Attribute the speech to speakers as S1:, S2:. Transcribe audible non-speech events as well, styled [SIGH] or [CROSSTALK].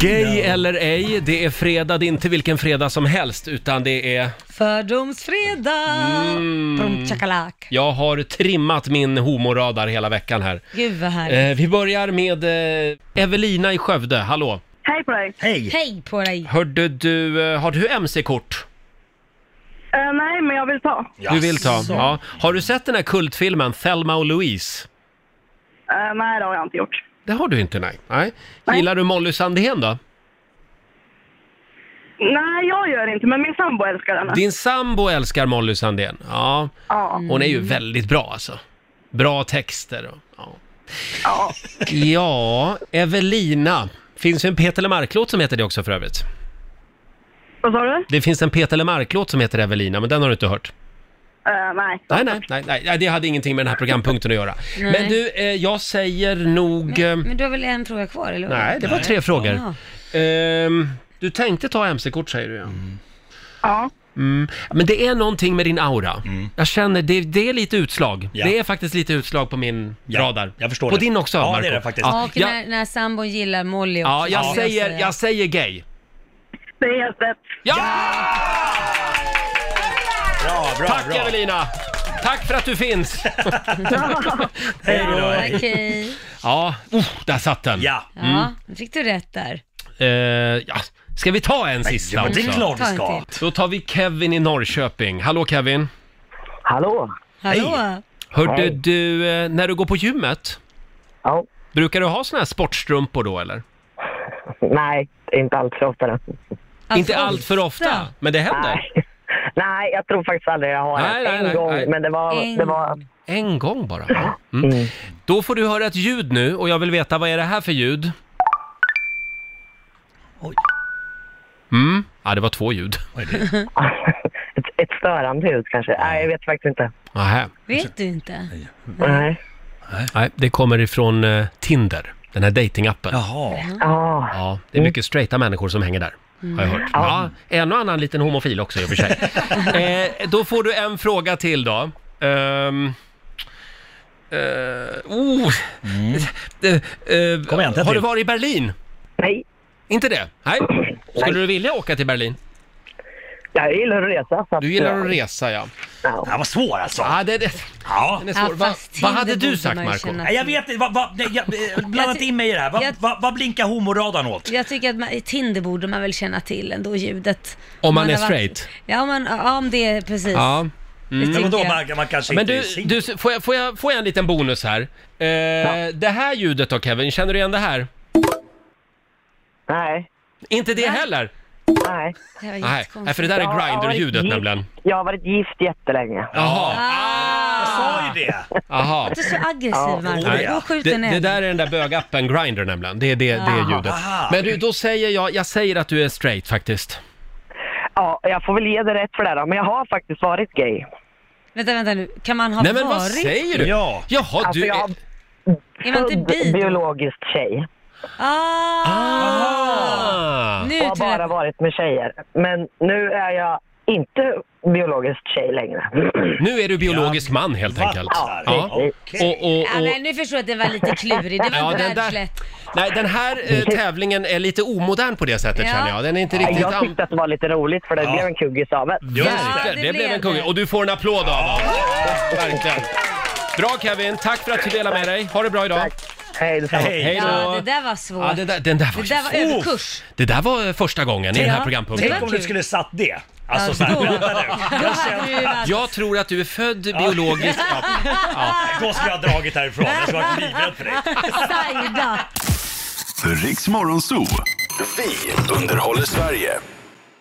S1: Gay eller ej, det är fredag, det är inte vilken fredag som helst utan det är...
S2: Fördomsfredag!
S1: Mm.
S2: Brum, chakalak.
S1: Jag har trimmat min homoradar hela veckan här.
S2: Gud vad härligt.
S1: Eh, vi börjar med eh, Evelina i Skövde, hallå!
S3: Hej på dig!
S1: Eh.
S4: Hej!
S2: Hej på dig!
S1: Hörde du, eh, har du MC-kort?
S3: Eh, nej, men jag vill ta.
S1: Du vill ta?
S4: Jaså.
S1: Ja. Har du sett den här kultfilmen Thelma och Louise?
S3: Eh, nej, det har jag inte gjort.
S1: Det har du inte, nej. nej. Gillar du Molly Sandén då?
S3: Nej, jag gör inte, men min sambo älskar den.
S1: Din sambo älskar Molly Sandén. Ja,
S3: Ja,
S1: hon är ju väldigt bra alltså. Bra texter och, ja.
S3: ja.
S1: Ja, Evelina. Finns ju en Peter Lemark-låt som heter det också för övrigt.
S3: Vad sa du?
S1: Det finns en Peter Lemark-låt som heter Evelina, men den har du inte hört.
S3: Eh, nej.
S1: Nej, nej, nej, nej, nej, det hade ingenting med den här programpunkten att göra.
S2: Nej.
S1: Men du, eh, jag säger nog... eh,
S2: Men du har väl en fråga kvar eller?
S1: nej, det var tre frågor. Ehm, du tänkte ta mc-kort säger du ja.
S4: Mm.
S3: Ja.
S1: Mm. Men det är någonting med din aura. Jag känner, det, det är lite utslag.
S4: Mm. Ja.
S1: Det är faktiskt lite utslag på min
S4: Ja,
S1: radar.
S4: jag förstår
S1: På
S4: det.
S1: din också,
S4: Ja, det
S1: Marco.
S4: är det faktiskt.
S1: Ja,
S2: Och
S1: jag,
S2: när, när sambon gillar Molly också.
S1: ja, jag,
S2: skulle
S1: säger,
S2: säga.
S1: jag säger gay.
S3: Det är helt rätt.
S1: ja!
S4: Bra, bra,
S1: Tack
S4: bra.
S1: Evelina! Tack för att du finns!
S4: Hej då, hej.
S2: Okej.
S1: [LAUGHS] Ja, oh, där satt den.
S4: Ja.
S2: Ja,
S1: Mm.
S2: nu fick du rätt där.
S1: Eh, ja. Ska vi ta en sista
S4: ja, men det är
S1: också?
S4: klart vi
S2: Ta en
S4: ska.
S2: till.
S1: Då tar vi Kevin i Norrköping. Hallå Kevin!
S5: Hallå?
S2: Hallå?
S1: Hörde
S5: Hej.
S1: du, eh, när du går på gymmet,
S5: Ja.
S1: brukar du ha såna här sportstrumpor då eller?
S5: Nej, inte allt för ofta.
S2: Allt
S1: Inte
S2: för
S1: allt för ofta,
S2: Alltså, ofta.
S1: men det händer.
S5: Nej. [LAUGHS] nej, jag tror faktiskt aldrig jag har
S1: Nej,
S5: en,
S1: nej,
S5: en
S1: nej,
S5: gång,
S1: nej.
S5: men det
S2: En
S5: var... Det var
S2: gång.
S1: En gång bara. Ja. Mm. Då får du höra ett ljud nu och jag vill veta vad är det här för ljud?
S4: Oj.
S1: Mm. Ja, det var två ljud.
S4: Oj, det-
S5: ett, ett störande ljud kanske. Nej, jag vet faktiskt inte.
S1: Aha.
S2: Vet du inte?
S5: Nej.
S1: Nej, det kommer ifrån eh, Tinder, den här datingappen.
S2: Mm.
S4: Jaha.
S5: Ja.
S1: Ja, det är mycket straighta människor som hänger där. Har jag hört. Ja, en och annan liten homofil också i och för
S2: [LAUGHS]
S1: sig. eh, då får du en fråga till då. Ehm, eh, oh,
S2: Mm.
S1: [LAUGHS] eh, eh,
S4: Kom igen, ta
S1: har du
S4: till.
S1: varit i Berlin?
S5: Nej,
S1: Inte det? Nej. Skulle du vilja åka till Berlin?
S5: jag gillar att resa. Så att,
S1: Du gillar att resa, ja.
S4: Det här var svår alltså.
S1: Ah, det, det,
S4: Ja.
S1: den är
S2: Ja,
S1: svår. Va,
S2: fast
S1: vad
S2: Tinder
S1: hade du
S2: borde
S1: sagt,
S2: man ju
S1: Marco?
S2: känna
S4: Nej, jag vet inte, vad- vad- nej, jag- eh, blanda inte in mig i det här. Vad
S2: Jag-
S4: vad- vad blinkar homoradarn åt?
S2: Jag tycker att man, i Tinder borde man väl känna till ändå ljudet.
S1: Om man är
S2: har varit-
S1: straight?
S2: Ja, om, man, ja, om det är precis.
S1: Ja.
S2: Det
S4: Ja, Mm. men
S2: tycker
S4: då
S2: jag.
S4: man, man kanske
S1: Men
S4: inte
S1: du,
S4: är singel.
S1: du får, jag, får, jag, får jag en liten bonus här? Eh, Det här ljudet då, Kevin, känner du igen det här?
S5: Nej,
S1: Inte det heller?
S5: nej.
S2: Det var
S1: Nej,
S2: jättekonstigt.
S1: nej, för det där är
S5: Jag har varit
S1: Grindr-ljudet
S5: gift-
S1: nämligen.
S5: Jag har varit gift jättelänge.
S1: Jaha,
S4: Jag sa ju det!
S1: aha.
S2: Ah, Du är så aggressiv,
S5: Ja.
S2: Marco.
S4: Nej.
S2: Du har skjutit
S1: Det,
S2: en
S1: det där är den där bögappen Grindr nämligen, det är det, det är ljudet.
S4: Aha.
S1: Men du, då säger jag, jag säger att du är straight faktiskt.
S5: Ja, jag får väl ge dig rätt för det här då, men jag har faktiskt varit gay. Alltså,
S2: Vänta, vänta nu. Kan man ha
S1: Nej men vad
S2: varit?
S1: säger du?
S4: Ja.
S1: Jaha,
S5: Alltså,
S1: du
S5: jag
S1: är...
S5: har
S2: Är man inte
S5: född
S2: bi? då?
S5: biologisk tjej
S2: Ah!
S1: Ah.
S2: Nu
S5: och har
S2: tror
S5: bara
S2: jag...
S5: varit med tjejer. Men nu är jag inte biologisk tjej längre.
S1: Nu är du biologisk man helt enkelt.
S4: Fattar.
S1: Ja.
S4: Okej.
S1: Och, och,
S2: Ja,
S1: och,
S2: men nu förstår jag att det var lite klurig. Det var
S1: Ja,
S2: inte
S1: den där-
S2: världslätt.
S1: nej, den här
S5: [LAUGHS]
S1: eh, tävlingen är lite omodern på det sättet
S2: Ja.
S1: känner jag. Den är inte riktigt...
S5: Jag
S1: an-
S5: tyckte att det var lite roligt för det
S4: Ja.
S5: blev en kuggis av det.
S4: Just
S1: Verkligen,
S2: det
S1: det, blev
S2: blev
S1: en kung.
S2: det.
S1: Och du får en applåd av oss. Verkligen. Bra Kevin, tack för att du delade med dig. Ha det bra idag.
S5: Tack. Hej, detsamma.
S4: Hej.
S1: Hej då.
S2: Ja, det där var svårt.
S1: Ja, det där, den där var,
S2: Det där var
S1: ju-
S2: överkurs.
S1: Det där var eh, första gången i den här
S2: Ja.
S1: programpunkten.
S2: Det var
S4: Tänk om du
S2: kul.
S4: skulle satt det. Alltså
S2: Ja,
S4: såhär,
S2: då-
S4: vänta nu.
S2: Då hade du ju varit...
S1: Jag tror att du är född biologiskt. Ja.
S4: Då skulle jag ha dragit härifrån. Jag skulle ha varit livrädd för dig.
S2: [LAUGHS] Sajda.
S6: Riks Morgonzoo. Vi underhåller Sverige.